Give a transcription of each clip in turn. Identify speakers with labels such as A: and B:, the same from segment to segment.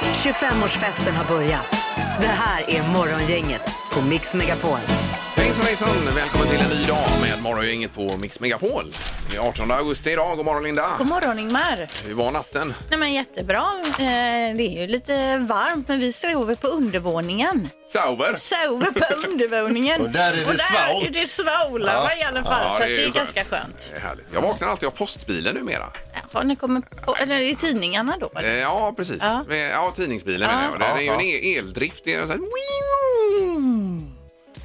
A: 25-årsfesten har börjat. Det här är Morgongänget på Mix Megapol.
B: Hejsan hejsan! Välkommen till en ny dag med Morgongänget på Mix Megapol. Det är 18 augusti idag. God morgon Linda!
C: God morgon Ingmar!
B: Hur var natten?
C: Nej, men jättebra. Eh, det är ju lite varmt men vi sover på undervåningen.
B: Sauber!
C: Sover på undervåningen.
D: Och där är det
C: Och där
D: svalt.
C: är det svålar i alla fall
B: Ja, det
C: så det
B: är
C: är,
B: skönt.
C: ganska skönt.
B: Det är härligt. Jag vaknar alltid av postbilen numera.
C: Jaha, ni kommer på, eller i tidningarna då?
B: Eh,
C: eller?
B: Ja, precis.
C: Ja.
B: Eh, Ja, tidningsbilen menar jag. Det är ju en e- eldrift. Det är så här...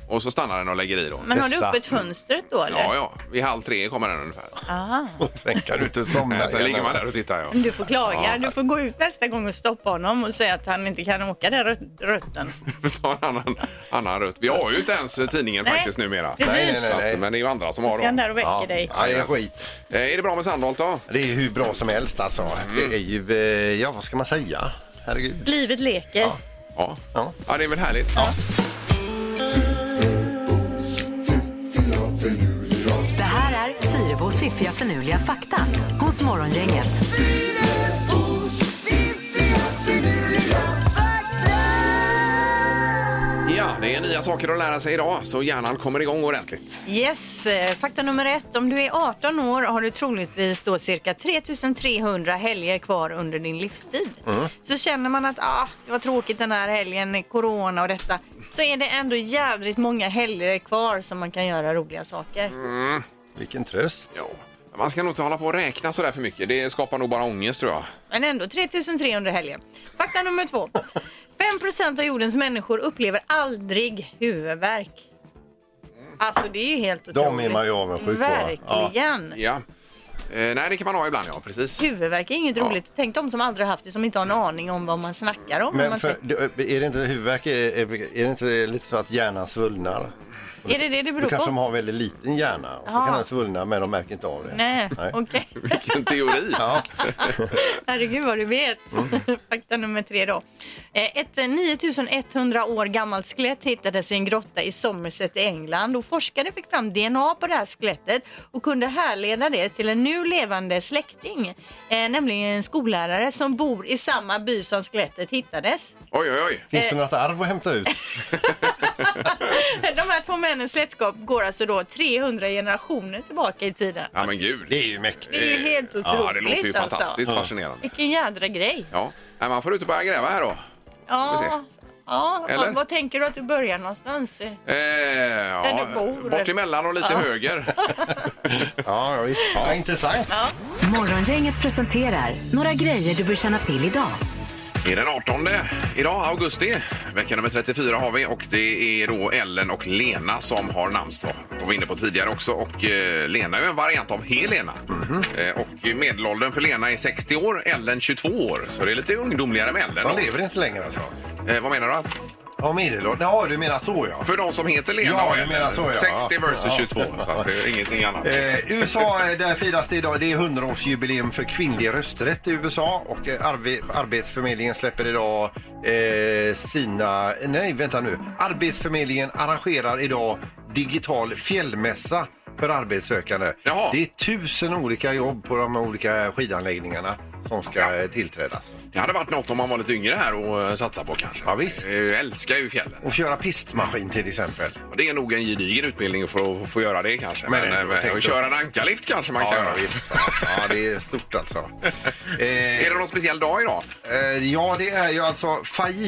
B: Och så stannar den och lägger i då.
C: Men har du
D: dessa.
C: öppet fönstret då eller?
B: Ja, ja. Vid halv tre kommer den ungefär.
C: Aha.
D: Sen kan du inte somna.
B: Men sen ligger man där och tittar. Ja.
C: Du får klaga. Du får gå ut nästa gång och stoppa honom och säga att han inte kan åka den rö- rutten.
B: Vi tar en annan, annan rutt. Vi har ju inte ens tidningen
C: Nej,
B: faktiskt numera.
C: precis.
D: Nej, nej, nej.
B: Så att- Men det är ju andra som har
C: Ska han
B: dem.
C: där och väcker
D: Ja,
C: dig?
D: ja, det är skit.
B: Eh, Är det bra med Sandholt då?
D: Det är hur bra som helst alltså.
B: Mm.
D: Det är ju, eh, ja vad ska man säga? Herregud.
C: Livet leker.
B: Ja.
D: Ja.
B: ja, det är väl härligt.
A: Det här är Fyrebos fiffiga förnuliga fakta hos Morgongänget.
B: Ja, det är nya saker att lära sig idag, så hjärnan kommer igång ordentligt.
C: Yes, eh, fakta nummer ett. Om du är 18 år har du troligtvis då cirka 3300 helger kvar under din livstid. Så känner man att ah, det var tråkigt den här helgen, corona och detta, så är det ändå jädrigt många helger kvar som man kan göra roliga saker.
D: Vilken tröst.
B: Jo. Man ska nog inte hålla på och räkna sådär för mycket. Det skapar nog bara ångest tror jag.
C: Men ändå 3300 helger. Fakta nummer två. 5 av jordens människor upplever aldrig huvudvärk. Alltså det är ju helt otroligt.
D: är man ju avundsjuk på.
C: Verkligen.
B: Ja. Eh, nej, det kan man ha ibland, ja. Precis.
C: Huvudvärk är inget
B: Ja.
C: roligt. Tänk de som aldrig har haft det, som inte har en aning om vad man snackar om. när
D: Men
C: man
D: för, eh,
C: säger-
D: är det inte huvudvärk, är, är är det inte lite så att hjärnan svullnar?
C: Är det det det
D: Då
C: beror
D: kanske de
C: på?
D: har väldigt liten hjärna och så
C: Ja.
D: kan den svullna men de märker inte av det.
C: Nej, okej.
B: Vilken teori.
D: Ja,
C: Herregud vad du vet. Fakta nummer tre då. Eh, Ett eh, 9100 år gammalt skelett hittades i en grotta i Somerset i England och forskare fick fram DNA på det här skelettet och kunde härleda det till en nu levande släkting, eh, nämligen en skollärare som bor i samma by som skelettet hittades.
B: Oj, oj, oj.
D: finns
C: eh,
D: det något arv att hämta ut?
C: De här två männens släktskap går alltså då 300 generationer tillbaka i tiden.
B: Ja, men gud.
D: Det är ju mäktigt.
C: Det är ju helt otroligt.
B: Eh, ja, det låter ju fantastiskt
C: Alltså.
B: fascinerande.
C: Vilken jädra grej.
B: Ja. Nej, man får ut och börja gräva här då. Eh, vi se.
C: Ja. Ja,
B: Eller?
C: vad, vad tänker du att du börjar någonstans?
B: Eh, ja,
C: du bor.
B: bort emellan och lite höger.
D: Ja, ja, visst. Ja, intressant.
A: Morgongänget presenterar några grejer du bör känna till idag.
B: Det är den 18 idag, augusti. Vecka nummer 34 har vi och det är då Ellen och Lena som har namnsdag. Och vi var inne på tidigare också och eh, Lena är ju en variant av Helena.
D: Mhm.
B: Eh, och medelåldern för Lena är 60 år, Ellen 22 år. Så det är lite ungdomligare med Ellen.
D: De lever inte längre alltså.
B: eh, vad menar du? Att,
D: Ja, medelåldern. Ja, du menar så ja.
B: för de som heter Lena
D: Ja,
B: och
D: du
B: Ellen,
D: menar så,
B: 60
D: ja. Ja.
B: versus
D: Ja.
B: 22. Så att det är ingenting annat.
D: Eh, USA, eh, där firas det idag. Det är 100-årsjubileum för kvinnlig rösträtt i USA och eh, arbe Arbetsförmedlingen släpper idag eh, sina... Nej, vänta nu. Arbetsförmedlingen arrangerar idag digital fjällmässa för arbetssökande.
B: Jaha.
D: Det är tusen olika jobb på de olika skidanläggningarna som ska eh, tillträdas.
B: Det hade varit något om man var lite yngre här och eh, satsa på kanske.
D: Ja, visst.
B: Eh, Jag älskar ju fjällen.
D: Och köra pistmaskin till exempel.
B: Och Det är nog en gedigen utbildning för att få göra det kanske.
D: Men
B: Men,
D: det-
B: eh,
D: jag tänkte-
B: och köra en ankarlift kanske man kan göra.
D: Ja, det är stort alltså. Eh,
B: Är det någon speciell dag idag?
D: Eh, Ja, det är ju alltså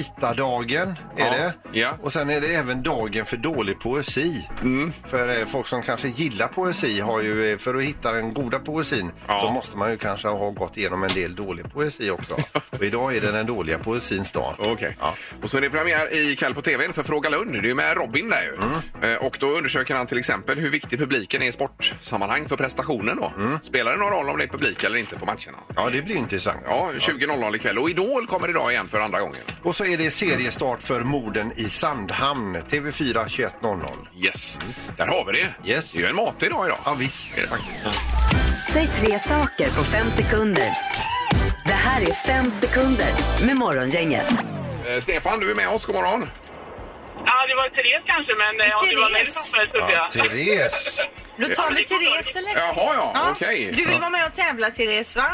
D: fajitadagen är
B: Ja,
D: det.
B: ja. Mm.
D: Och sen är det även dagen för dålig poesi. För eh, folk som kanske gillar poesi har ju, eh, för att hitta den goda poesin
B: Ja.
D: så måste man ju kanske ha gått igenom en del dålig poesi också. Och idag är det den dåliga poesins dag.
B: Okej.
D: Ja.
B: Och så är det premiär ikväll på tvn för Fråga Lund. Det är ju med Robin där ju.
D: Mm.
B: Eh, Och då undersöker han till exempel hur viktig publiken är i sportsammanhang för prestationen då.
D: Mm.
B: Spelar det någon roll om det är publik eller inte på matcherna?
D: Ja, det blir intressant.
B: Ja, 20.00 ikväll. Och Idol kommer idag igen för andra gången.
D: Och så är det seriestart för morden i Sandhamn, TV4 21.00.
B: Yes, där har vi det.
D: Mm. Yes.
B: Det är ju en matig dag idag.
D: Ja, visst.
B: Är det faktiskt.
A: Säg tre saker på fem sekunder. Det här är fem sekunder med Morgongänget.
B: Eh, Stefan, du är med oss. God morgon.
E: Ja, det var Therese kanske, men eh, om det var mig
C: Therese.
E: som förestod
D: Ja,
E: jag.
D: Therese!
C: Då tar vi Therese eller?
B: Jaha, ja. Okej.
C: Du vill vara med och tävla Therese va?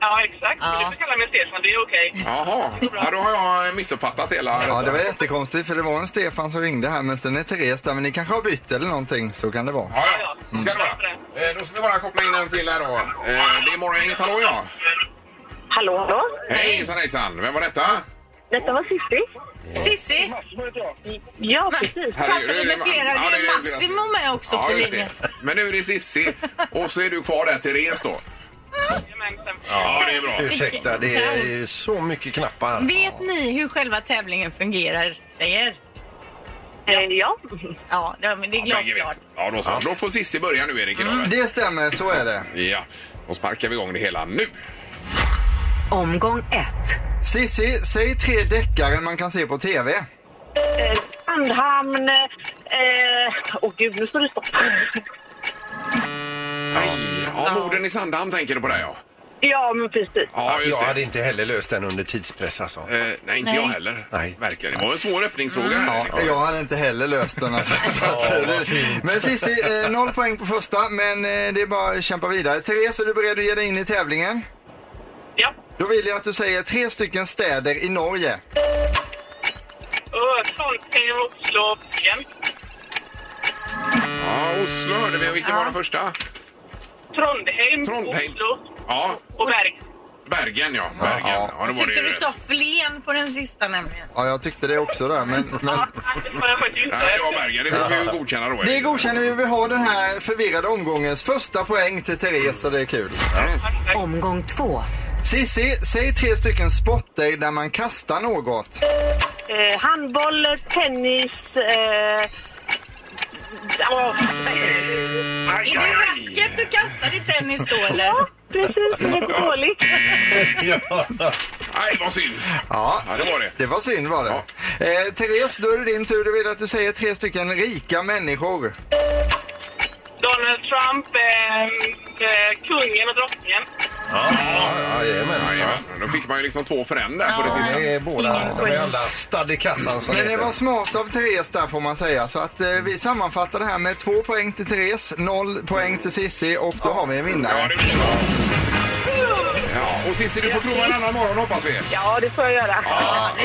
E: Ja, exakt.
C: Ja.
E: Du får kalla mig Stefan, det är okej.
B: Jaha, ja, då har jag missuppfattat hela.
F: Ja, det var jättekonstigt för det var en Stefan som ringde här men sen är Therese där. Men ni kanske har bytt eller någonting, så kan det vara.
B: Ja, ja. Ska det vara. Eh, Då ska vi bara koppla in en till här då. Eh, Det är Morgongänget, hallå ja.
G: Hallå, hallå?
B: Hej hejsan hejsan, vem var detta?
G: Detta var Sissi.
C: Sissi!
G: Ja, precis.
B: Herregud,
C: Pratar vi med
B: det är-
C: flera?
B: ja,
C: Det
B: det är-
C: är Massimo med också
B: Ja,
C: på
B: just
C: linjen.
B: det. Men nu är det Sissi och så är du kvar där, Therese då.
E: Jajamensan.
B: Ja, det är bra.
D: Ursäkta, det är så mycket knappar.
C: Vet ni hur själva tävlingen fungerar, tjejer?
G: Eh, ja.
C: Ja, det men det är
B: Bägge
C: glasklart.
B: vet. Ja, då, så. då får Sissi börja nu, Erik. idag,
C: Mm.
B: väl?
F: Det stämmer, så är det.
B: Ja, då sparkar vi igång det hela nu.
A: Omgång ett.
F: Sissi, säg tre deckare man kan se på TV.
G: Eh, Sandhamn... eh, Åh gud, nu står det stopp.
B: Aj, ja, morden i Sandhamn tänker du på där, ja.
G: Ja, men precis.
B: Ja,
D: Jag
B: just
D: hade
B: det.
D: inte heller löst den under tidspress alltså.
B: Eh, nej, inte jag heller.
D: Nej.
B: Verkligen. Det var en svår öppningsfråga.
F: Mm. Ja,
B: här.
F: jag hade inte heller löst den. Alltså. men Cissi, eh, noll poäng på första, men eh, det är bara att kämpa vidare. Therese, är du beredd att ge dig in i tävlingen?
E: Ja.
F: Då vill jag att du säger tre stycken städer i Norge.
E: Östholm, Oslo, Gent.
B: Ja, Oslo hörde vi. Vilken var den första?
E: Trondheim,
B: Trondheim.
E: Oslo
B: Ja,
E: och Berg.
B: Bergen, ja. Bergen. Ja,
F: Ja.
B: då var det
C: Tyckte
B: ju
C: du
B: rätt.
C: sa flen på den sista nämligen.
F: Ja, jag tyckte det också där, men... men...
E: Ja, det var jag faktiskt inte.
B: Nej, det var Bergen. Det får vi ju godkänna då.
F: Det
B: Erik.
F: godkänner vi. Vi har den här förvirrade omgångens första poäng till Therese och det är kul.
A: Omgång två.
F: Sissi, säg tre stycken sporter där man kastar något.
G: Eh, handboll, tennis... Eh, ja,
B: Aj,
C: Är
B: aj,
C: det
B: aj.
C: racket du kastar i tennis då eller?
G: precis. Det är dåligt.
B: Aj, vad synd.
F: Ja.
B: Ja, det var det.
F: Det var synd var det.
B: Ja.
F: Eh, Therese, då är det din tur. Du vill att du säger tre stycken rika människor.
E: Donald Trump, eh, eh, kungen och drottningen.
D: Ja, jajamän.
B: Jajamän. Då fick man ju liksom två för en där på det sista.
D: Det är båda, de är alla stadd i kassan som
F: Men det
D: heter.
F: var smart av Therese där får man säga. Så att eh, vi sammanfattar det här med två poäng till Therese, noll poäng till Sissi och då har vi en
B: Ja, det
F: vinnare.
B: blir bra. Ja, och Cissi, du får prova en annan morgon hoppas vi.
G: Ja, det får jag göra.
B: Ja,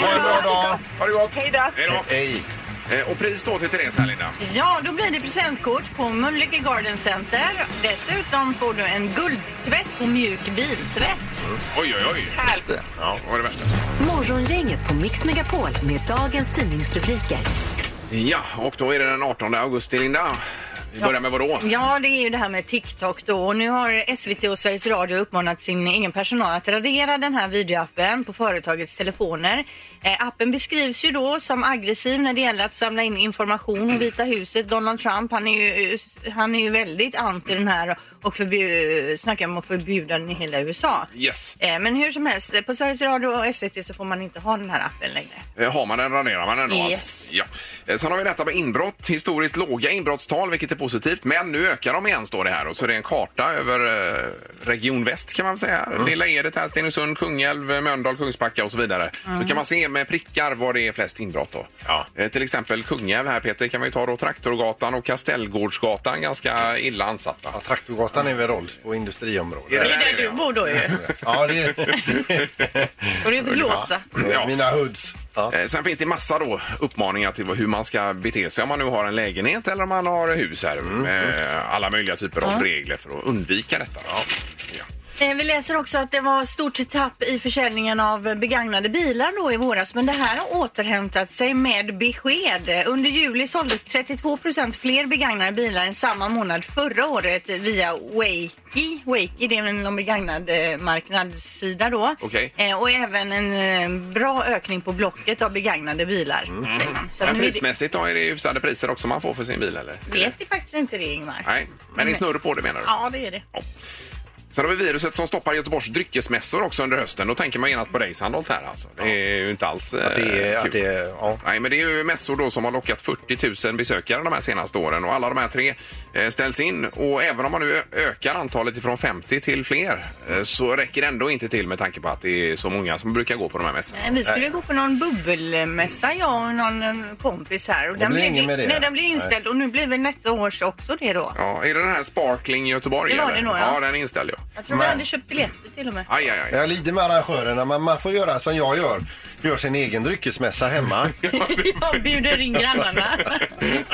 B: ha en bra dag. Ha det gott.
G: Hej då.
B: Hej då.
D: Hej.
B: Eh, Och pris då till Therese här, Linda.
C: Ja, då blir det presentkort på Mölnlycke Garden Center. Dessutom får du en guldtvätt på mjuk biltvätt.
B: Oj, oj, oj. Ja, det var det värsta.
A: Morgongänget på Mix Megapol med dagens tidningsrubriker.
B: Ja, och då är det den 18 augusti, Linda. Vi börjar med vadå?
C: Ja, det är ju det här med TikTok då. Och nu har SVT och Sveriges Radio uppmanat sin egen personal att radera den här videoappen på företagets telefoner. Eh, appen beskrivs ju då som aggressiv när det gäller att samla in information om Vita huset. Donald Trump, han är ju, han är ju väldigt anti den här och förbju- snackar om att förbjuda den i hela USA.
B: Yes.
C: Eh, Men hur som helst, eh, på Sveriges Radio och SVT så får man inte ha den här appen längre.
B: Eh, Har man den raderar man den då.
C: Yes.
B: Alltså. Ja. Eh, Sen har vi detta med inbrott. Historiskt låga inbrottstal, vilket är positivt. Men nu ökar de igen, står det här. Och så är det en karta över eh, Region Väst kan man säga. Lilla Edet här, Stenungsund, Kungälv, eh, Mölndal, Kungsbacka och så vidare. Så kan man se med prickar var det är flest inbrott då.
H: Ja.
B: Eh, Till exempel Kungälv här Peter kan vi ta då Traktorgatan och Kastellgårdsgatan ganska illa ansatta.
D: Ja, Traktorgatan är väl Rolfsbo industriområde.
B: Är det
C: Det är
B: där
C: där
B: det är,
C: du
B: ja.
C: bor då ju.
D: Ja, det
C: Och det är blåsa.
B: Ja.
D: är mina hoods. Ja.
B: Eh, Sen finns det massa då uppmaningar till vad- hur man ska bete sig om man nu har en lägenhet eller om man har hus här. Eh, Alla möjliga typer av regler för att undvika detta. Ja.
C: Eh, Vi läser också att det var stort tapp i försäljningen av eh, begagnade bilar då i våras men det här har återhämtat sig med besked. Eh, Under juli såldes 32 procent fler begagnade bilar än samma månad förra året eh, via Wakey. Wakey det är väl någon begagnad eh, marknadssida då.
B: Okej.
C: Eh, Och även en eh, bra ökning på Blocket av begagnade bilar.
B: Mm.
C: säger man. Så
B: Men
C: nu är det-
B: prismässigt då, är det hyfsade priser också man får för sin bil eller?
C: vet det faktiskt inte det Ingmar.
B: Nej, men det är snurr på det menar du?
C: Ja, det är det.
B: Sen har vi viruset som stoppar Göteborgs dryckesmässor också under hösten. Då tänker man genast på racehandolt här alltså. Det är ju inte alls eh,
D: Att det är, att det är, ja.
B: Nej, men det är ju mässor då som har lockat 40 000 besökare de här senaste åren och alla de här tre eh, ställs in. Och även om man nu ö- ökar antalet från 50 till fler eh, så räcker det ändå inte till med tanke på att det är så många som brukar gå på de här mässorna.
C: Nej, Vi skulle gå på någon bubbelmässa jag och någon eh, kompis här. Och den
D: blir
C: blev,
D: ingen med det.
C: Nej, den blev inställd och nu blir väl nästa års också det då.
B: Ja, är det den här Sparkling i Göteborg?
C: Det var
B: eller?
C: det nog,
B: ja.
C: ja.
B: den är inställd ja.
H: Jag tror vi hade köpt biljetter till och med.
B: Aj, aj, aj.
D: Jag lider med arrangörerna, men man får göra som jag gör. Gör sin egen dryckesmässa hemma.
H: Jag bjuder in grannarna.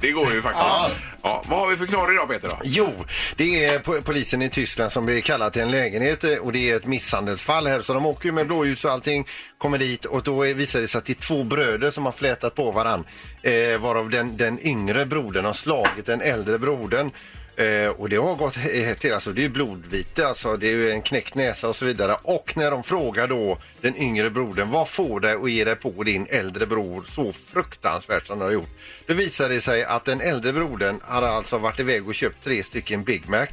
B: Det går ju faktiskt. Ja. vad har vi för knorr idag Peter? Då?
D: Jo, det är po- polisen i Tyskland som blir kallad till en lägenhet eh, och det är ett misshandelsfall här så de åker ju med blåljus och allting, kommer dit och då är- visar det sig att det är två bröder som har flätat på varann eh, varav den, den yngre brodern har slagit den äldre brodern. Eh, och det har gått he- hett till, alltså det är ju blodvite, alltså det är ju en knäckt näsa och så vidare. Och när de frågar då den yngre brodern, vad får dig att ge dig på din äldre bror så fruktansvärt som du har gjort? Det visade sig att den äldre brodern hade alltså varit iväg och köpt tre stycken Big Mac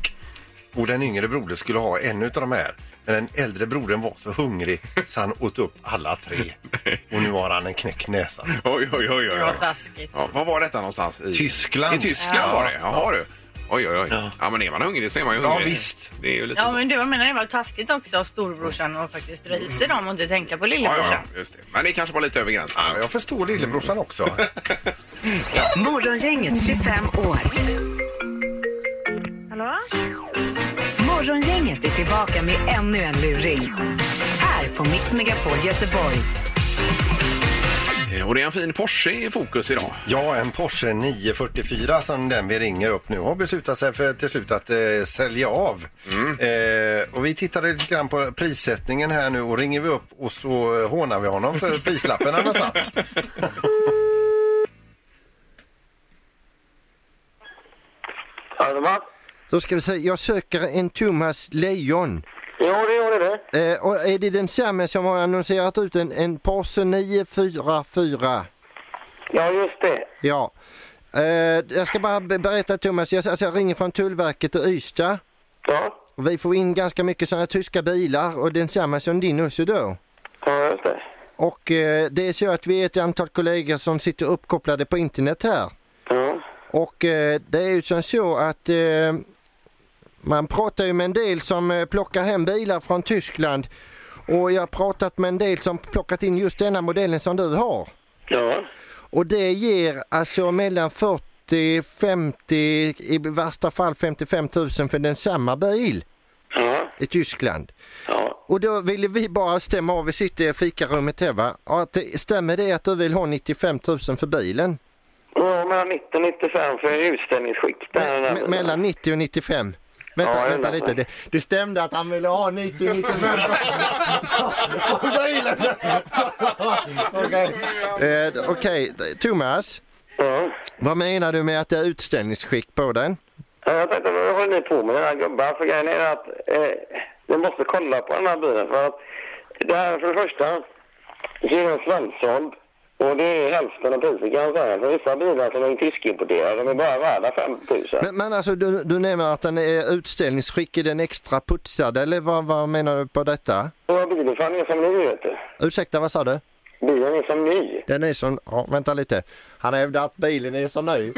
D: och den yngre brodern skulle ha en av de här. Men den äldre brodern var så hungrig så han åt upp alla tre. Och nu har han en knäckt näsa.
B: Oj, oj, oj. oj,
C: Det var
B: oj.
C: taskigt.
B: Ja, var var detta någonstans? I
D: Tyskland.
B: I Tyskland
D: Ja.
B: var det? Jaha du. Oj, oj, oj. Ja. men är man hungrig så är man ju
D: Ja,
B: hungrig.
D: visst.
B: Det är ju lite
C: Ja,
B: så.
C: men du, jag menar det var taskigt också av storbrorsan att faktiskt dra i sig dem och inte tänka på
B: Ja, ja,
C: lillebrorsan.
B: ja, just det. Men det kanske var lite över gränsen.
D: Ja, jag förstår lillebrorsan också.
A: Morgongänget 25 år.
G: Hallå?
A: Morgongänget är tillbaka med ännu en luring. Här på Mix Megapol Göteborg.
B: Eh, Och det är en fin Porsche i fokus idag.
D: Ja, en Porsche 944 som den vi ringer upp nu har beslutat sig för till slut att eh, sälja av. Eh, och vi tittade lite grann på prissättningen här nu och ringer vi upp och så eh, hånar vi honom för prislappen han har satt.
I: Hallå?
J: Då ska vi se, jag söker en Thomas Lejon.
I: Ja, det gör det.
J: Eh, och är det densamme som har annonserat ut en, en Porsche 944?
I: Ja, just det.
J: Ja. Eh, jag ska bara be- berätta Thomas, jag, alltså, jag ringer från Tullverket i Ystad.
I: Ja,
J: Och Vi får in ganska mycket sådana tyska bilar och densamma som din också då.
I: ja just det.
J: Och eh, det är så att vi är ett antal kollegor som sitter uppkopplade på internet här.
I: Ja,
J: Och eh, det är ju som så att eh, man pratar ju med en del som eh, plockar hem bilar från Tyskland och jag har pratat med en del som plockat in just denna modellen som du har.
I: ja,
J: Och det ger alltså mellan 40 50, i värsta fall 55 000 för den samma bil
I: ja,
J: i Tyskland.
I: ja.
J: Och då ville vi bara stämma av, vi sitter i fikarummet här va, och att det, stämmer det att du vill ha 95 000 för bilen?
I: Ja, mellan 90 och 95 för utställningsskikt. där.
J: Me- mellan 90 och 95. Vänta,
I: Ja,
J: vänta
I: det är
J: lite. Det, det stämde att han ville ha 90 95 bilen. Okej, eh, okej, Thomas.
I: Ja.
J: Vad menar du med att det är utställningsskick på den?
I: Ja, Jag tänkte, vad håller ni på med den här gubben? För grejen är att eh, ni måste kolla på den här bilen. För att det här, för det första, så är den svensksåld. Och det är hälften av priset kan jag säga. För vissa bilar som är tyskimporterade, de är bara värda 5 000.
J: Men, men alltså du, du nämner att den är utställningsskick, är den extra putsad eller vad, vad menar du på detta?
I: Våra bilar fan är som ny, vet du.
J: Ursäkta, vad sa du?
I: Bilen är som ny.
J: Den är som, ja, vänta lite. Han hävdar att bilen är så ny.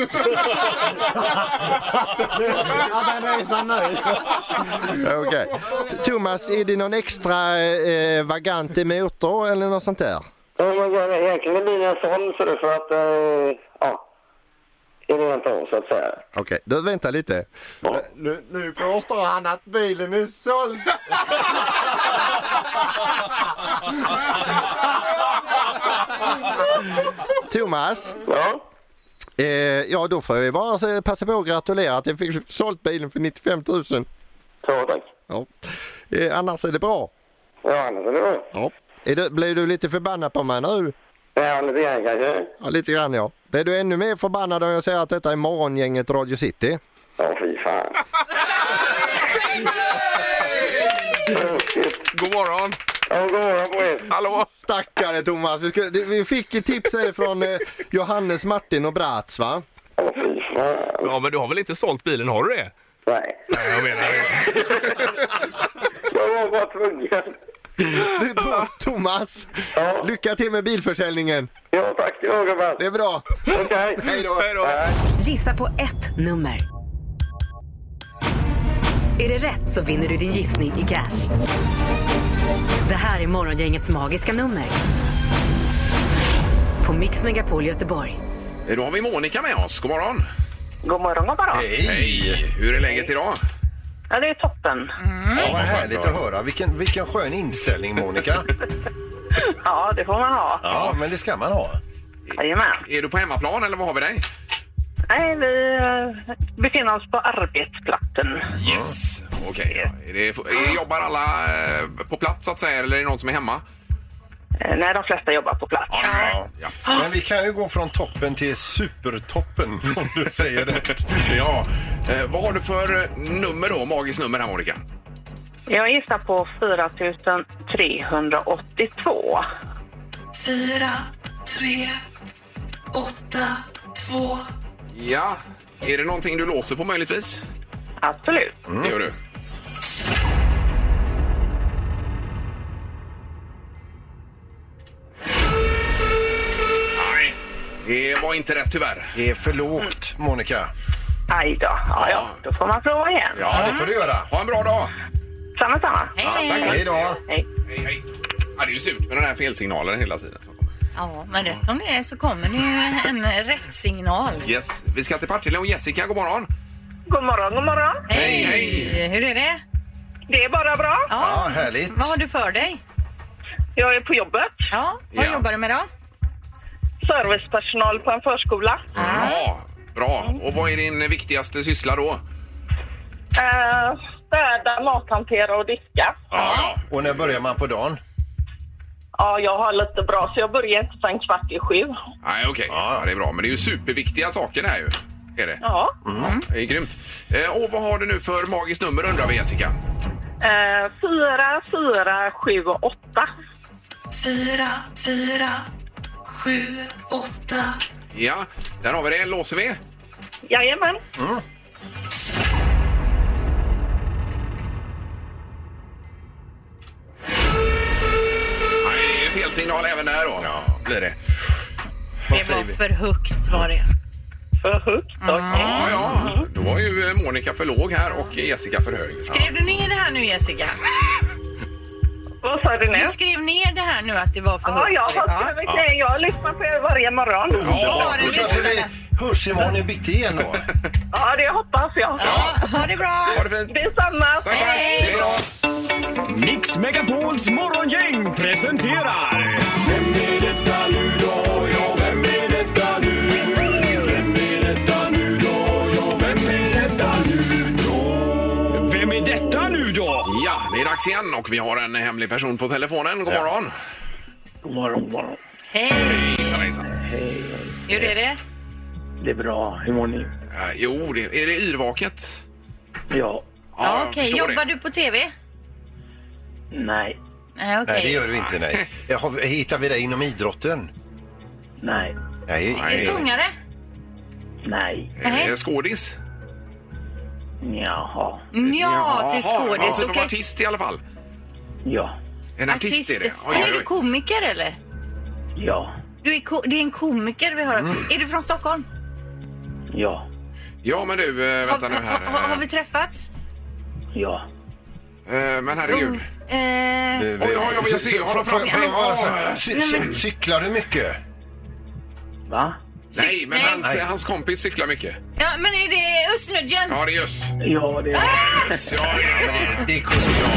J: att den är så ny. Okej. Thomas, är det någon extra eh, vagant i motor eller något sånt där?
I: Ja, men jag- egentligen är bilen såld så det är för att, eh, ja, är det inte om så att säga.
J: Okej, du vänta lite. Nu, nu påstår han att bilen är såld. Thomas,
I: Ja,
J: eh, ja då får vi bara eh, passa på att gratulera att jag fick sålt bilen för 95 000.
I: så tack.
J: Ja. Eh, annars är det bra.
I: Ja, annars är det bra.
J: Ja. Är du, blir du lite förbannad på mig nu?
I: Ja, lite grann kanske.
J: Ja, lite grann ja. Blir du ännu mer förbannad om jag säger att detta är morgongänget Radio City?
I: Ja, fy fan. Ruskigt.
B: God morgon!
I: Ja, god morgon på er.
B: Hallå!
J: Stackare Thomas! Vi, skulle, det- vi fick ett tips här från eh, Johannes, Martin och Bratz va?
I: Ja, fy fan.
K: Ja, men du har väl inte sålt bilen, har du det?
I: Nej,
K: Nej, jag menar det.
I: jag var bara tvungen.
J: Det var Thomas!
I: Ja.
J: Lycka till med bilförsäljningen!
I: Ja, tack ska du ha gubbar.
J: Det är bra!
I: Okej.
J: Hej då!
K: Hej då.
A: Gissa på ett nummer. Är det rätt så vinner du din gissning i cash. Det här är morgongängets magiska nummer. På Mix Megapol Göteborg.
B: Eh, Då har vi Monica med oss. God morgon!
G: God morgon, god morgon.
B: Hej! Hur är läget idag?
G: Ja, det är toppen.
D: Ja, vad härligt att höra. Vilken, vilken skön inställning, Monica.
G: Ja, det får man ha.
D: Ja, men det ska man ha.
G: Jajamän.
B: Är du på hemmaplan eller var har vi dig?
G: Nej, vi eh, befinner oss på arbetsplatsen.
B: Yes. Okej. Är det- är- Jobbar alla eh, på plats så att säga eller är det någon som är hemma?
G: Eh, Nej, de flesta jobbar på plats.
B: Ja, ja.
D: Men vi kan ju gå från toppen till supertoppen om du säger rätt.
B: ja. Eh, vad har du för eh, nummer då? Magiskt nummer här Monica.
G: Jag gissar på 4 382.
L: Fyra, tre, åtta, två.
B: Ja. Är det någonting du låser på möjligtvis?
G: Absolut.
B: Mm. Det gör du. Nej, Det var inte rätt tyvärr.
D: Det är för lågt, Monica.
G: Aj då. Ja, ja. Då får man prova igen.
D: Ja, det får du göra.
B: Ha en bra dag!
G: Samma, samma.
B: tack.
D: Hej då.
G: Hej.
B: Hej, hej. Ja, det är ju surt med den här felsignalen hela tiden.
C: Ja, men rätt som det är så kommer det ju en rätt signal.
B: Yes. Vi ska till Partille och Jessica, god morgon.
G: God morgon, god morgon.
B: Hej, hej.
C: Hur är det?
G: Det är bara bra.
D: Ja, härligt.
C: Vad har du för dig?
G: Jag är på jobbet.
C: Ja, vad
B: Ja.
C: jobbar du med då?
G: Servicepersonal på en förskola.
B: Ja, bra. Och vad är din viktigaste syssla då?
G: Eh, städa, mathantera och diska.
B: Ja,
D: Och när börjar man på dagen?
G: Ja, jag har lite bra, så jag börjar inte förrän kvart i sju.
B: Nej, okej. Ja, det är bra. Men det är ju superviktiga saker det här ju. Är det?
G: Ja.
B: Mm. Det är grymt. Eh, och vad har du nu för magiskt nummer undrar vi Jessica?
G: Eh, fyra, fyra, sju och åtta.
L: Fyra, fyra, sju, åtta.
B: Ja, där har vi det. Låser vi?
G: Jajamän.
B: Nej, det är fel signal även där då. Ja, blir det.
C: Det var för högt var det.
G: För högt.
B: Ja, ja. Då var ju eh, Monica för låg här och Jessica för hög. Ja.
H: Skrev du ner det här nu Jessica?
G: Vad sa du nu?
H: Du
G: Ja,
H: skrev ner det här nu att det var för
C: Alltså,
H: högt.
G: jag har skrivit ner. Jag lyssnar på er varje morgon.
D: Ja, då kanske vi hörs imorgon i bitti igen då.
G: Ja, det hoppas jag.
C: Ja, ha det bra!
B: Ha det fint!
G: Detsamma.
B: Tack, tack. Hej då.
M: Mix Megapols morgongäng presenterar... Vem är detta nu då? Ja, vem är detta nu? Vem är detta nu då? Ja, vem är detta nu då? Vem är detta nu då?
B: Ja, det är dags igen och vi har en hemlig person på telefonen. God morgon!
N: God morgon, god morgon.
C: Hej!
B: Hejsan, hejsan.
N: Hej,
C: Hur är det?
N: det är bra. Hur mår ni?
B: Eh, Jo, det, är det yrvaket?
N: Ja.
C: Ja,
B: jag
C: Okej,
B: förstår det.
C: jobbar du på TV?
N: Nej.
C: Nej, okej.
D: Nej, det gör du inte. Nej. Jag har- Hittar vi dig inom idrotten?
N: Nej.
D: Nej.
C: Är du sångare?
N: Nej.
B: Är det skådis?
N: Jaha.
C: Ja, till skådis.
B: Alltså,
C: okej.
B: okay. artist i alla fall.
N: Ja.
B: En artist, är det. Oj,
C: Men
B: oj,
C: är du
B: oj.
C: komiker eller?
N: Ja.
C: Du är ko- det är en komiker vi har.
B: Mm.
C: Är du från Stockholm?
N: Ja.
B: Ja, men du, eh, vänta nu här.
C: Har, har vi träffats?
N: Ja.
B: Eh, Men herregud.
C: Eh,
B: Oj, oj, oj, jag ser honom
D: Får- får-
B: framför mig.
D: får-
B: Ah.
D: cy- cy- Cyklar du mycket?
N: Va?
B: Nej, men
C: Nej.
B: hans,
C: Nej.
B: hans kompis cyklar mycket.
C: ja, men är det Östnödjen?
B: Ja, det är just.
N: Ja, det är...
B: Yes, ja, det är det.
D: Det är konstigt.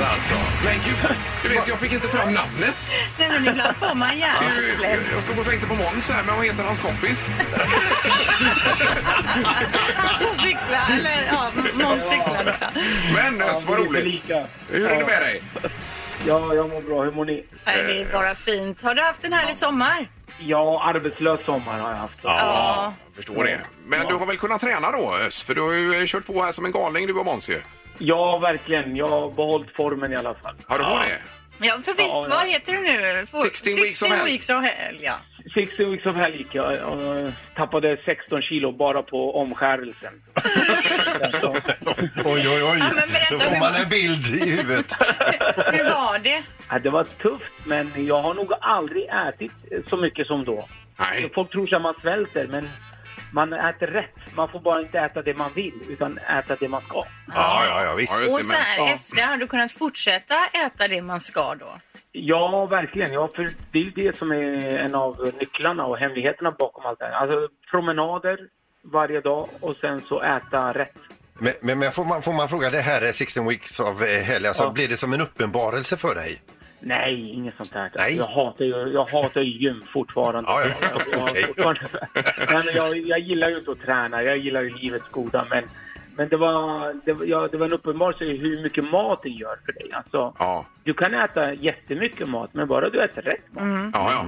D: Alltså.
B: Men gud, du vet, jag fick inte fram namnet.
C: Nej, men ibland får man hjärnsläpp.
B: Jag stod och tänkte på Måns här, men vad heter hans kompis?
C: Han som cyklar, eller ja, Måns cyklar. då.
B: Men ös, vad
N: vi är för
B: roligt.
N: lika.
B: Hur är det med dig?
N: Ja, jag mår bra. Hur mår ni?
C: Nej, det är bara fint. Har du haft en härlig sommar?
N: Ja, arbetslös sommar har jag haft.
C: Ja.
B: Jag förstår det. Men du har väl kunnat träna då, Ös? För du har ju eh, kört på här som en galning, du och Måns ju.
N: Ja, verkligen. Jag har behållit formen i alla fall.
B: Har du ja. det?
C: Ja, för visst,
N: Ja, ja.
C: vad heter du nu? Får-
B: 16 weeks of hell.
C: weeks of hell, ja.
N: 60 weeks of hell gick jag och tappade 16 kilo bara på omskärelsen.
D: Oj, oj, oj.
C: Ja, men berätta,
D: Då får
C: hur-
D: man en bild i huvudet.
C: Hur var det?
N: Ja, det var tufft, men jag har nog aldrig ätit så mycket som då.
B: Nej.
N: Folk tror så att man svälter, men man äter rätt. Man får bara inte äta det man vill, utan äta det man ska.
D: Ja, ja, ja, visst.
B: Ja,
C: Och
B: just
C: så
B: det,
C: här
N: men- ja.
C: efter, har du kunnat fortsätta äta det man ska då?
N: Ja, verkligen. Ja, för det är ju det som är en av nycklarna och hemligheterna bakom allt det här. Alltså promenader varje dag och sen så äta rätt.
D: Men, men, men får, man, får man fråga, det här är 16 weeks of eh, hell, alltså
N: Ja.
D: blir det som en uppenbarelse för dig?
N: Nej, inget sånt här. Alltså,
D: Nej.
N: Jag hatar ju jag hatar ju gym fortfarande.
D: Ja, ja,
N: Jag, har fortfarande Nej, men jag, jag gillar ju inte att träna, jag gillar ju livets goda. Men, men det, var, det, var- ja, det var en uppenbarelse i hur mycket maten gör för dig. Alltså, Du kan äta jättemycket mat, men bara du äter rätt mat.
B: Ja,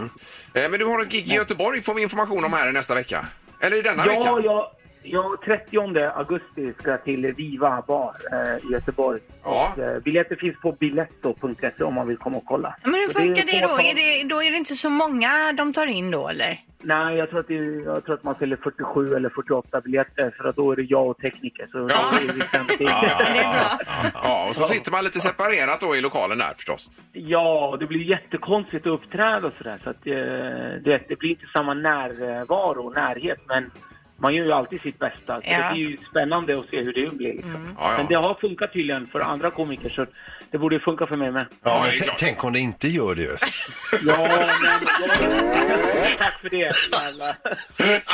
B: ja. Eh, Men du har ett gig i Göteborg får vi information om här i nästa vecka. Eller i denna
N: ja,
B: vecka.
N: Jag, jag, 30 augusti ska jag till Viva Bar eh, i Göteborg. Och, eh, biljetter finns på biletto.se om man vill komma och kolla.
C: Men hur
N: Så är
C: funkar det då?
N: fåtal-
C: Är det, då är det inte så många de tar in då eller?
N: Nej, jag tror, att det, är- jag tror att man säljer 47 eller 48 biljetter för att då är det jag och tekniker. Så då är liksom- vi 50.
B: ja, ja. ja, och så sitter man lite separerat då i lokalen där förstås.
N: Ja, och det blir jättekonstigt att uppträda och sådär. Så att, eh, du vet, det blir inte samma närvaro och närhet, men man gör ju alltid sitt bästa. Så
C: Ja.
N: Det blir ju spännande att se hur det blir. Liksom.
D: Ja, ja.
N: Men det har funkat tydligen för andra komiker, så det borde funka för mig med.
D: Ja, men t- tänk om det inte gör det. just.
N: Ja, men, tack för det. snälla.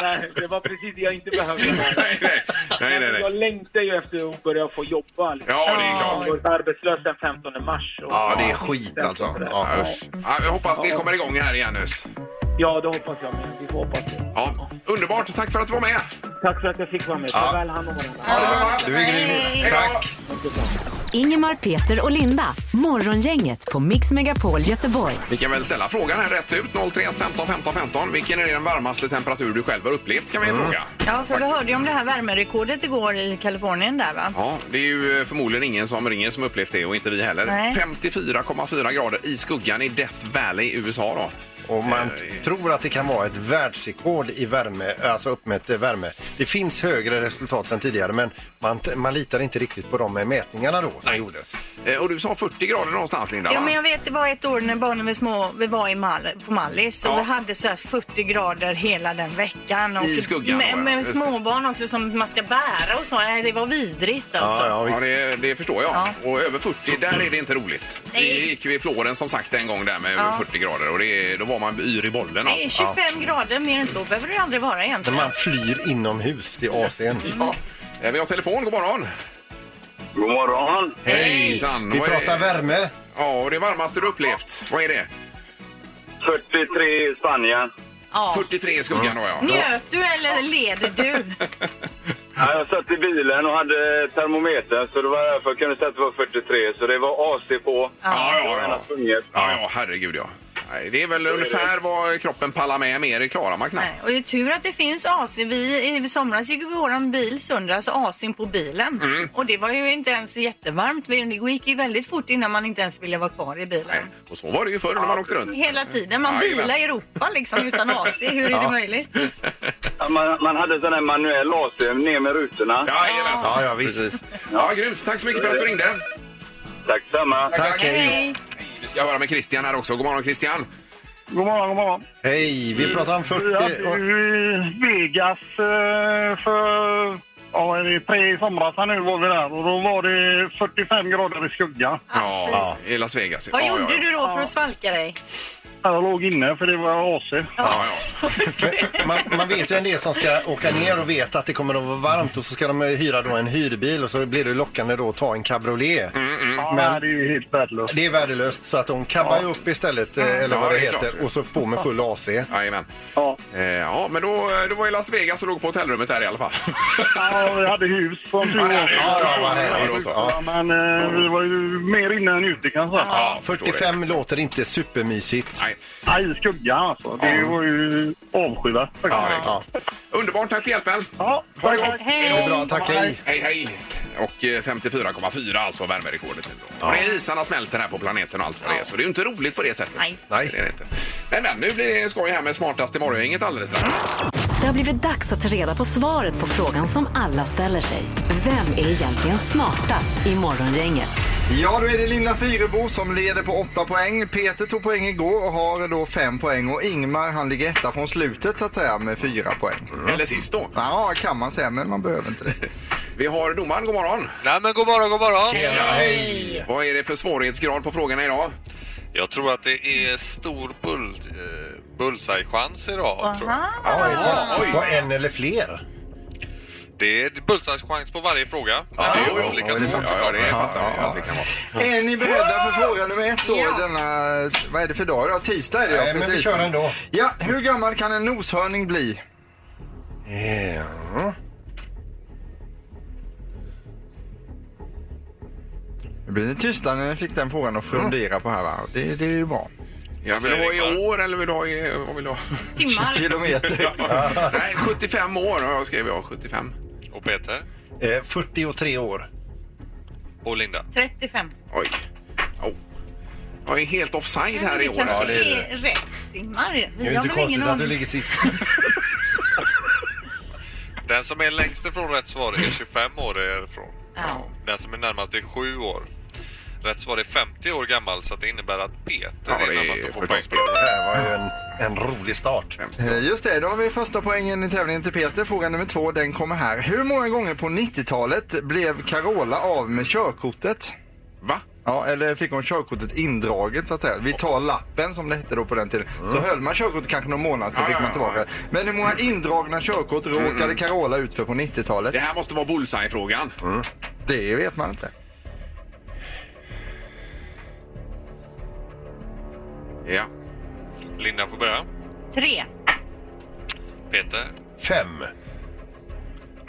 N: Nej, det var precis det jag inte behövde.
B: Nej, nej,
N: Jag
B: nej.
N: längtar ju efter att börja få jobba. Liksom.
B: Ja, det är klart.
N: Jag har varit arbetslös den 15 mars. och-
B: Ja, det är skit alltså. Ja, usch. ja, jag hoppas det kommer igång här igen nu.
N: Ja, det hoppas jag med. Vi får hoppas det.
B: Ja, underbart. Tack för att du var med.
N: Tack för att jag fick vara med. Ta
B: Ja.
N: väl hand om varandra.
B: Du är grym. Tack.
A: Ingemar, Peter och Linda. Morgongänget på Mix Megapol Göteborg.
B: Vi kan väl ställa frågan här rätt ut. 031 15 15 15. Vilken är den varmaste temperatur du själv har upplevt kan vi fråga.
C: Ja, för vi hörde ju om det här värmerekordet igår i Kalifornien där va?
B: Ja, det är ju eh, förmodligen ingen som ringer som upplevt det och inte vi heller.
C: Nej.
B: 54,4 grader i skuggan i Death Valley i USA då.
D: Och man t- tror att det kan vara ett världsrekord i värme, alltså uppmätt eh, värme. Det finns högre resultat sedan tidigare men man, t- man litar inte riktigt på de eh, mätningarna då som gjordes.
B: Eh, Och du sa 40 grader någonstans Linda
C: Ja,
B: va?
C: men jag vet, det var ett år när barnen var små, vi var i Mal på Mallis och
B: Ja.
C: vi hade så här 40 grader hela den veckan. Och
B: I skuggan, ja,
C: Med,
B: ja,
C: med
B: just
C: småbarn också som man ska bära och så. Nej, det var vidrigt alltså.
B: ja, det, det förstår jag. Och över 40, där är det inte roligt. Vi gick ju i Florens som sagt en gång där med över
C: Ja.
B: 40 grader och det, då var man yr i bollen. alltså.
C: Nej, 25 grader mer än så behöver det aldrig vara
D: När
C: egentligen.
D: man flyr inomhus till AC'n.
B: Ja. Eh, Vi har telefon, god morgon.
O: God morgon.
B: Hejsan.
D: Vi
B: Vad är-
D: pratar värme.
B: Ja, och det varmaste du upplevt, vad är det?
O: 43 i Spanien.
C: Ja.
B: 43 i skuggan då ja.
C: Njöt du eller leder du?
O: Ja, Jag satt i bilen och hade termometern så det var därför jag kunde säga att det var 43. Så det var AC på.
B: Ja, ja,
O: Det var
B: ja.
O: ena punget.
B: Ja, ja, herregud ja. Nej, det är väl ungefär vad kroppen pallar med, mer klarar man knappt.
C: Och det är tur att det finns AC. Vi, I somras gick vår bil sönder, alltså AC'n på bilen.
B: Mm.
C: Och det var ju inte ens jättevarmt. Det gick ju väldigt fort innan man inte ens ville vara kvar i bilen.
B: Och så var det ju förr när man åkte runt.
C: Hela tiden. Man
B: Jajamän.
C: bilar i Europa liksom utan AC. Hur är
O: Ja.
C: det möjligt?
O: Ja, Man, man hade sån här manuell AC ner med rutorna.
B: Ja, ja, ja visst. Precis. Ja, grymt. Tack så mycket för att du ringde.
O: Tack samma.
B: Vi ska höra med Christian här också. God morgon Christian.
P: God morgon, god morgon.
D: Hej, vi pratar om 40...
P: Jag var i Vegas eh, för ja, det är tre somrar sedan nu var vi där och då var det 45 grader i skugga.
B: Ja, Alltså, i Las Vegas.
C: Vad
B: ja,
C: gjorde
B: ja, ja.
C: du då för att svalka dig?
P: Jag låg inne för det var AC.
B: Ja,
D: Man, man vet ju en del som ska åka ner och vet att det kommer att vara varmt och så ska de eh, hyra då en hyrbil och så blir det lockande då att ta en cabriolet.
P: Ja, nej, det är ju helt värdelöst.
D: Det är värdelöst så att de kabbar ju upp istället eh, eller
B: Mm. Ja,
D: vad det,
B: det är
D: heter
B: klart.
D: och så på med full AC.
B: Jajamän. Eh, ja, men då, då var i Las Vegas och låg på hotellrummet där i alla fall.
P: Ja, vi hade hus som tur
B: Ja,
P: var.
B: det hade hus, ja, vad härligt.
P: Ja, ja, men eh, vi var ju mer inne än ute kan jag säga.
D: Ja, 45 låter inte supermysigt.
B: Nej.
P: Nej, skuggan alltså. Det var ju avskyvärt.
B: Ja. Underbart, tack för hjälpen.
P: Ja,
B: tack.
D: Hej. Det är bra, tack, hej.
B: Hej, hej. Och eh, 54,4 alltså värmerekordet. Ja. Och det är isarna smälter här på planeten och allt vad det är. Så det är ju inte roligt på det sättet. Nej. Det är det inte. Men, men nu blir det skoj här med smartaste morgongänget alldeles strax.
A: Det har blivit dags att ta reda på svaret på frågan som alla ställer sig. Vem är egentligen smartast i morgongänget?
F: Ja, då är det Linda Fyrebo som leder på 8 poäng. Peter tog poäng igår och har då 5 poäng. Och Ingmar han ligger etta från slutet så att säga med 4 poäng.
B: Eller sist då.
F: Ja, kan man säga, men man behöver inte det.
B: Vi har domaren, god morgon.
Q: Nej men god morgon, god morgon.
B: hej. Vad är det för svårighetsgrad på frågorna idag?
Q: Jag tror att det är stor bull, eh, bullseye-chans idag. Tror jag.
D: Ja, På en eller fler.
Q: Det är bullseye-chans på varje fråga. Ja, det är olika svårt
B: Ja, ja, det fattar vi att det kan vara.
F: Är ni beredda för fråga nummer ett då? Denna, vad är det för dag idag? Tisdag är det
D: Nej, men vi kör ändå.
F: Ja, hur gammal kan en noshörning bli?
D: Eh, Ja.
F: Nu blir ni tysta när ni fick den frågan och fundera på här va? Det, det är ju bra.
B: Ja, vill du ha i år eller vill du ha i... Vad vill du ha?
F: Timmar. Kilometer.
B: Ja. Nej, 75 år har jag skrivit. Ja, 75.
Q: Och Peter?
D: Eh, 43 år.
Q: Och Linda?
C: 35.
B: Oj. Oh. Jag är helt offside här i år.
C: kanske är rätt timmar.
B: Det är ju
C: Jag
B: inte
C: har väl
B: konstigt
C: ingen
B: att du
C: aning.
B: ligger sist.
Q: Den som är längst ifrån rätt svar är 25 år ifrån.
C: Ja.
Q: Den som är närmast är 7 år. Rätt svar är 50 år gammal så att det innebär att Peter är närmast att få poäng.
D: Det här var ju en, en rolig start.
F: Eh, Just det, då har vi första poängen i tävlingen till Peter. Fråga nummer två, den kommer här. Hur många gånger på 90-talet blev Carola av med körkortet?
B: Va?
F: Ja, eller fick hon körkortet indraget så att säga. Vi tar lappen som det hette då på den tiden. Så höll man körkortet kanske någon månad så
B: Ja,
F: fick
B: Mm. ja,
F: man
B: ja.
F: tillbaka det. Men hur många indragna körkort råkade
B: Mm.
F: Carola ut för på 90-talet?
B: Det här måste vara bullseye-frågan.
Q: Mm.
F: Det vet man inte.
B: Ja.
Q: Linda får börja.
C: Tre.
Q: Peter?
D: Fem.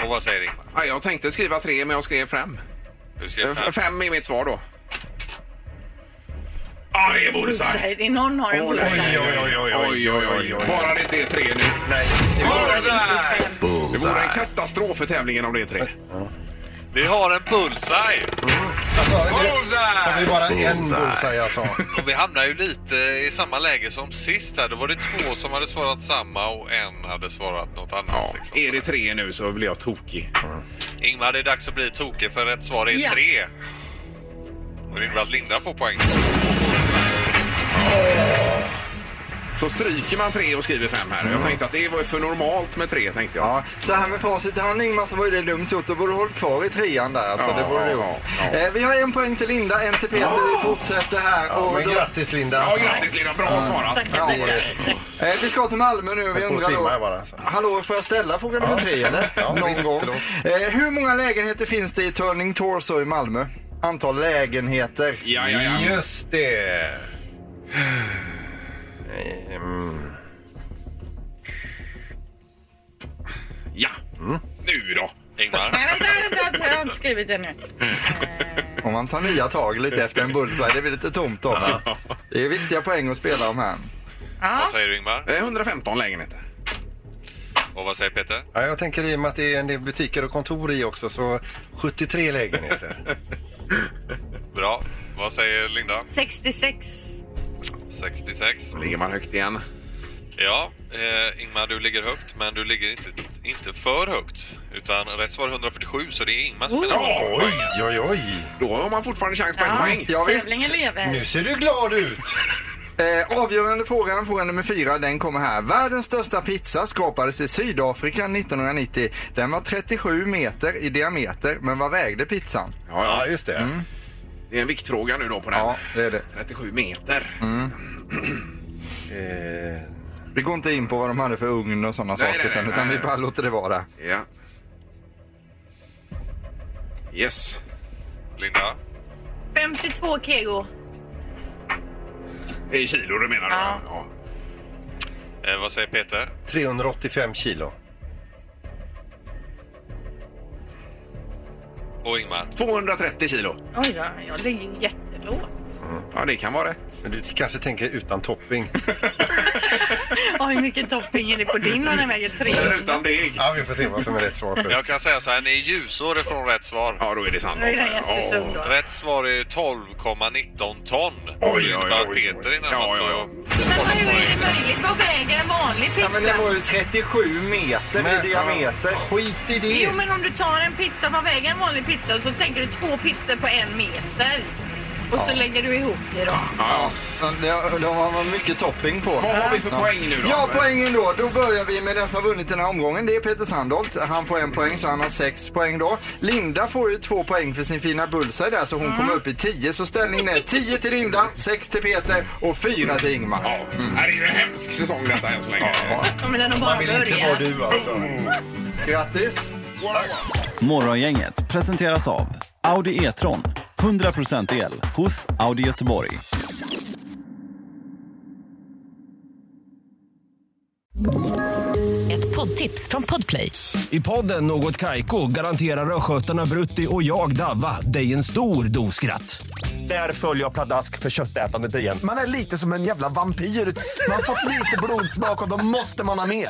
Q: Och vad säger Ingmar?
B: Ja, jag tänkte skriva tre, men jag skrev fem.
Q: Du skrev
B: F-
Q: fem.
B: Fem är mitt svar då. Ja, det är bullseye!
C: Bullseye. Det är någon har en bullseye.
B: oj, oj, oj, oj, oj, oj. Bara det inte är tre nu.
D: Nej.
B: Det vore, det vore en katastrof för tävlingen om det är tre.
Q: Vi har en bullseye!
D: Har vi bara en bullseye alltså?
Q: Och vi hamnar ju lite i samma läge som sist här. Då var det två som hade svarat samma och en hade svarat något annat. Liksom.
B: Är det tre nu så blir jag tokig.
Q: Ingmar, det är dags att bli tokig för rätt svar är
B: Ja.
Q: tre. Och det innebär att Linda får poäng.
B: Så stryker man tre och skriver fem här. Jag tänkte att det var för normalt med tre, tänkte jag.
F: Mm. Ja, så här med facit i hand Ingmar så var ju det dumt gjort. Då borde du hållit kvar i trean där alltså.
B: Ja,
F: det borde du gjort.
B: ja,
F: Eh, vi har en poäng till Linda, en till Peter. Vi fortsätter här. och
D: men
F: då-
D: grattis Linda.
B: Ja, grattis Linda. Bra svarat.
F: Ja. Eh, vi ska till Malmö nu. Vi
D: Jag får
F: undrar
D: simma
F: då,
D: här bara, alltså.
F: Hallå, får jag ställa fråga nummer tre eller?
D: Ja,
F: Någon
D: visst,
F: gång.
D: förlåt.
F: Eh, hur många lägenheter finns det i Turning Torso i Malmö? Antal lägenheter.
B: Ja, ja, ja.
D: Just det. Mm.
B: Ja, nu då.
Q: Ingmar?
C: Nej, vänta, vänta. Jag har inte skrivit det nu.
F: Om man tar nya tag lite efter en bullseye, det blir lite tomt då. va? Det är viktiga poäng att spela om här.
Q: Vad säger du Ingmar?
B: 115 Eh, lägenheter.
Q: Och vad säger Peter?
D: Ja, jag tänker i och med att det är en del butiker och kontor i också så 73 lägenheter.
Q: Bra. Vad säger Linda?
C: 66.
Q: 66.
B: Så ligger man högt igen.
Q: Ja, eh, Ingmar du ligger högt men du ligger inte, inte för högt. Utan rätt svar är 147 så det är Ingmar
C: Oh,
Q: som är närmast.
D: Oj, oj, oj.
B: Då har man fortfarande chans på en poäng.
F: Ja, visst.
C: Tävlingen lever.
D: Nu ser du glad ut.
F: Eh, avgörande frågan, fråga nummer fyra, den kommer här. Världens största pizza skapades i Sydafrika 1990. Den var 37 meter i diameter, men vad vägde pizzan?
B: Ja, ja. Mm.
D: just det.
B: Det är en viktfråga nu då på den.
F: Ja, det Mm. är det.
B: 37 meter.
D: Eh,
F: Vi går inte in på vad de hade för ugn och sådana
B: Nej,
F: saker
B: nej,
F: sen,
B: nej,
F: utan
B: nej.
F: vi bara låter det vara.
B: Ja. Yes.
Q: Linda?
C: 52 kego.
B: I kilo du menar du?
C: Ja.
B: Ja.
Q: Eh, vad säger Peter?
D: 385 kilo.
Q: Och Ingmar?
B: 230 kilo.
C: Oj då, jag ligger ju jättelågt.
B: Ja, det kan vara rätt.
D: Men du kanske tänker utan topping.
C: Oj, hur mycket topping är det på din och den väger 300?
B: Utan deg.
D: Ja, vi får se vad som är rätt svar. För.
Q: Jag kan säga så här, ni är ljusår ifrån rätt svar.
B: Ja, då är det sant.
C: Då är den jättetung då.
Q: Rätt svar är 12,19 ton.
B: oj,
Q: Det innebär att
B: oj,
Q: Peter är närmast.
B: Ja, ja, ja.
C: Men hur är det möjligt? Vad väger en vanlig
F: Ja, men det
C: pizza?
F: var ju 37 meter i diameter.
D: Skit i det.
C: Jo, men om du tar en pizza, vad väger en vanlig pizza? Och så tänker du två pizzor på en meter. Och så lägger du ihop det då.
B: Ja,
F: De, de har mycket topping på.
B: Vad har vi för poäng nu då?
F: Ja, poängen då. Då börjar vi med den som har vunnit den här omgången. Det är Peter Sandholt. Han får en poäng så han har sex poäng då. Linda får ju två poäng för sin fina bullseye där så hon kommer upp i tio. Så ställningen är tio till Linda, sex till Peter och fyra till Ingmar.
B: Ja. Det här är ju en hemsk säsong detta än så länge.
C: Ja, men den har bara
D: Man vill inte vara
C: börjat.
D: du alltså.
F: Grattis!
R: Morgongänget presenteras av Audi E-tron. 100% el hos Audi Göteborg.
A: Ett poddtips från Podplay.
S: I podden Något Kaiko garanterar östgötarna Brutti och jag, Davva, dig en stor dos skratt. Där följer jag pladask för köttätandet igen.
F: Man är lite som en jävla vampyr. Man har fått lite blodsmak och då måste man ha mer.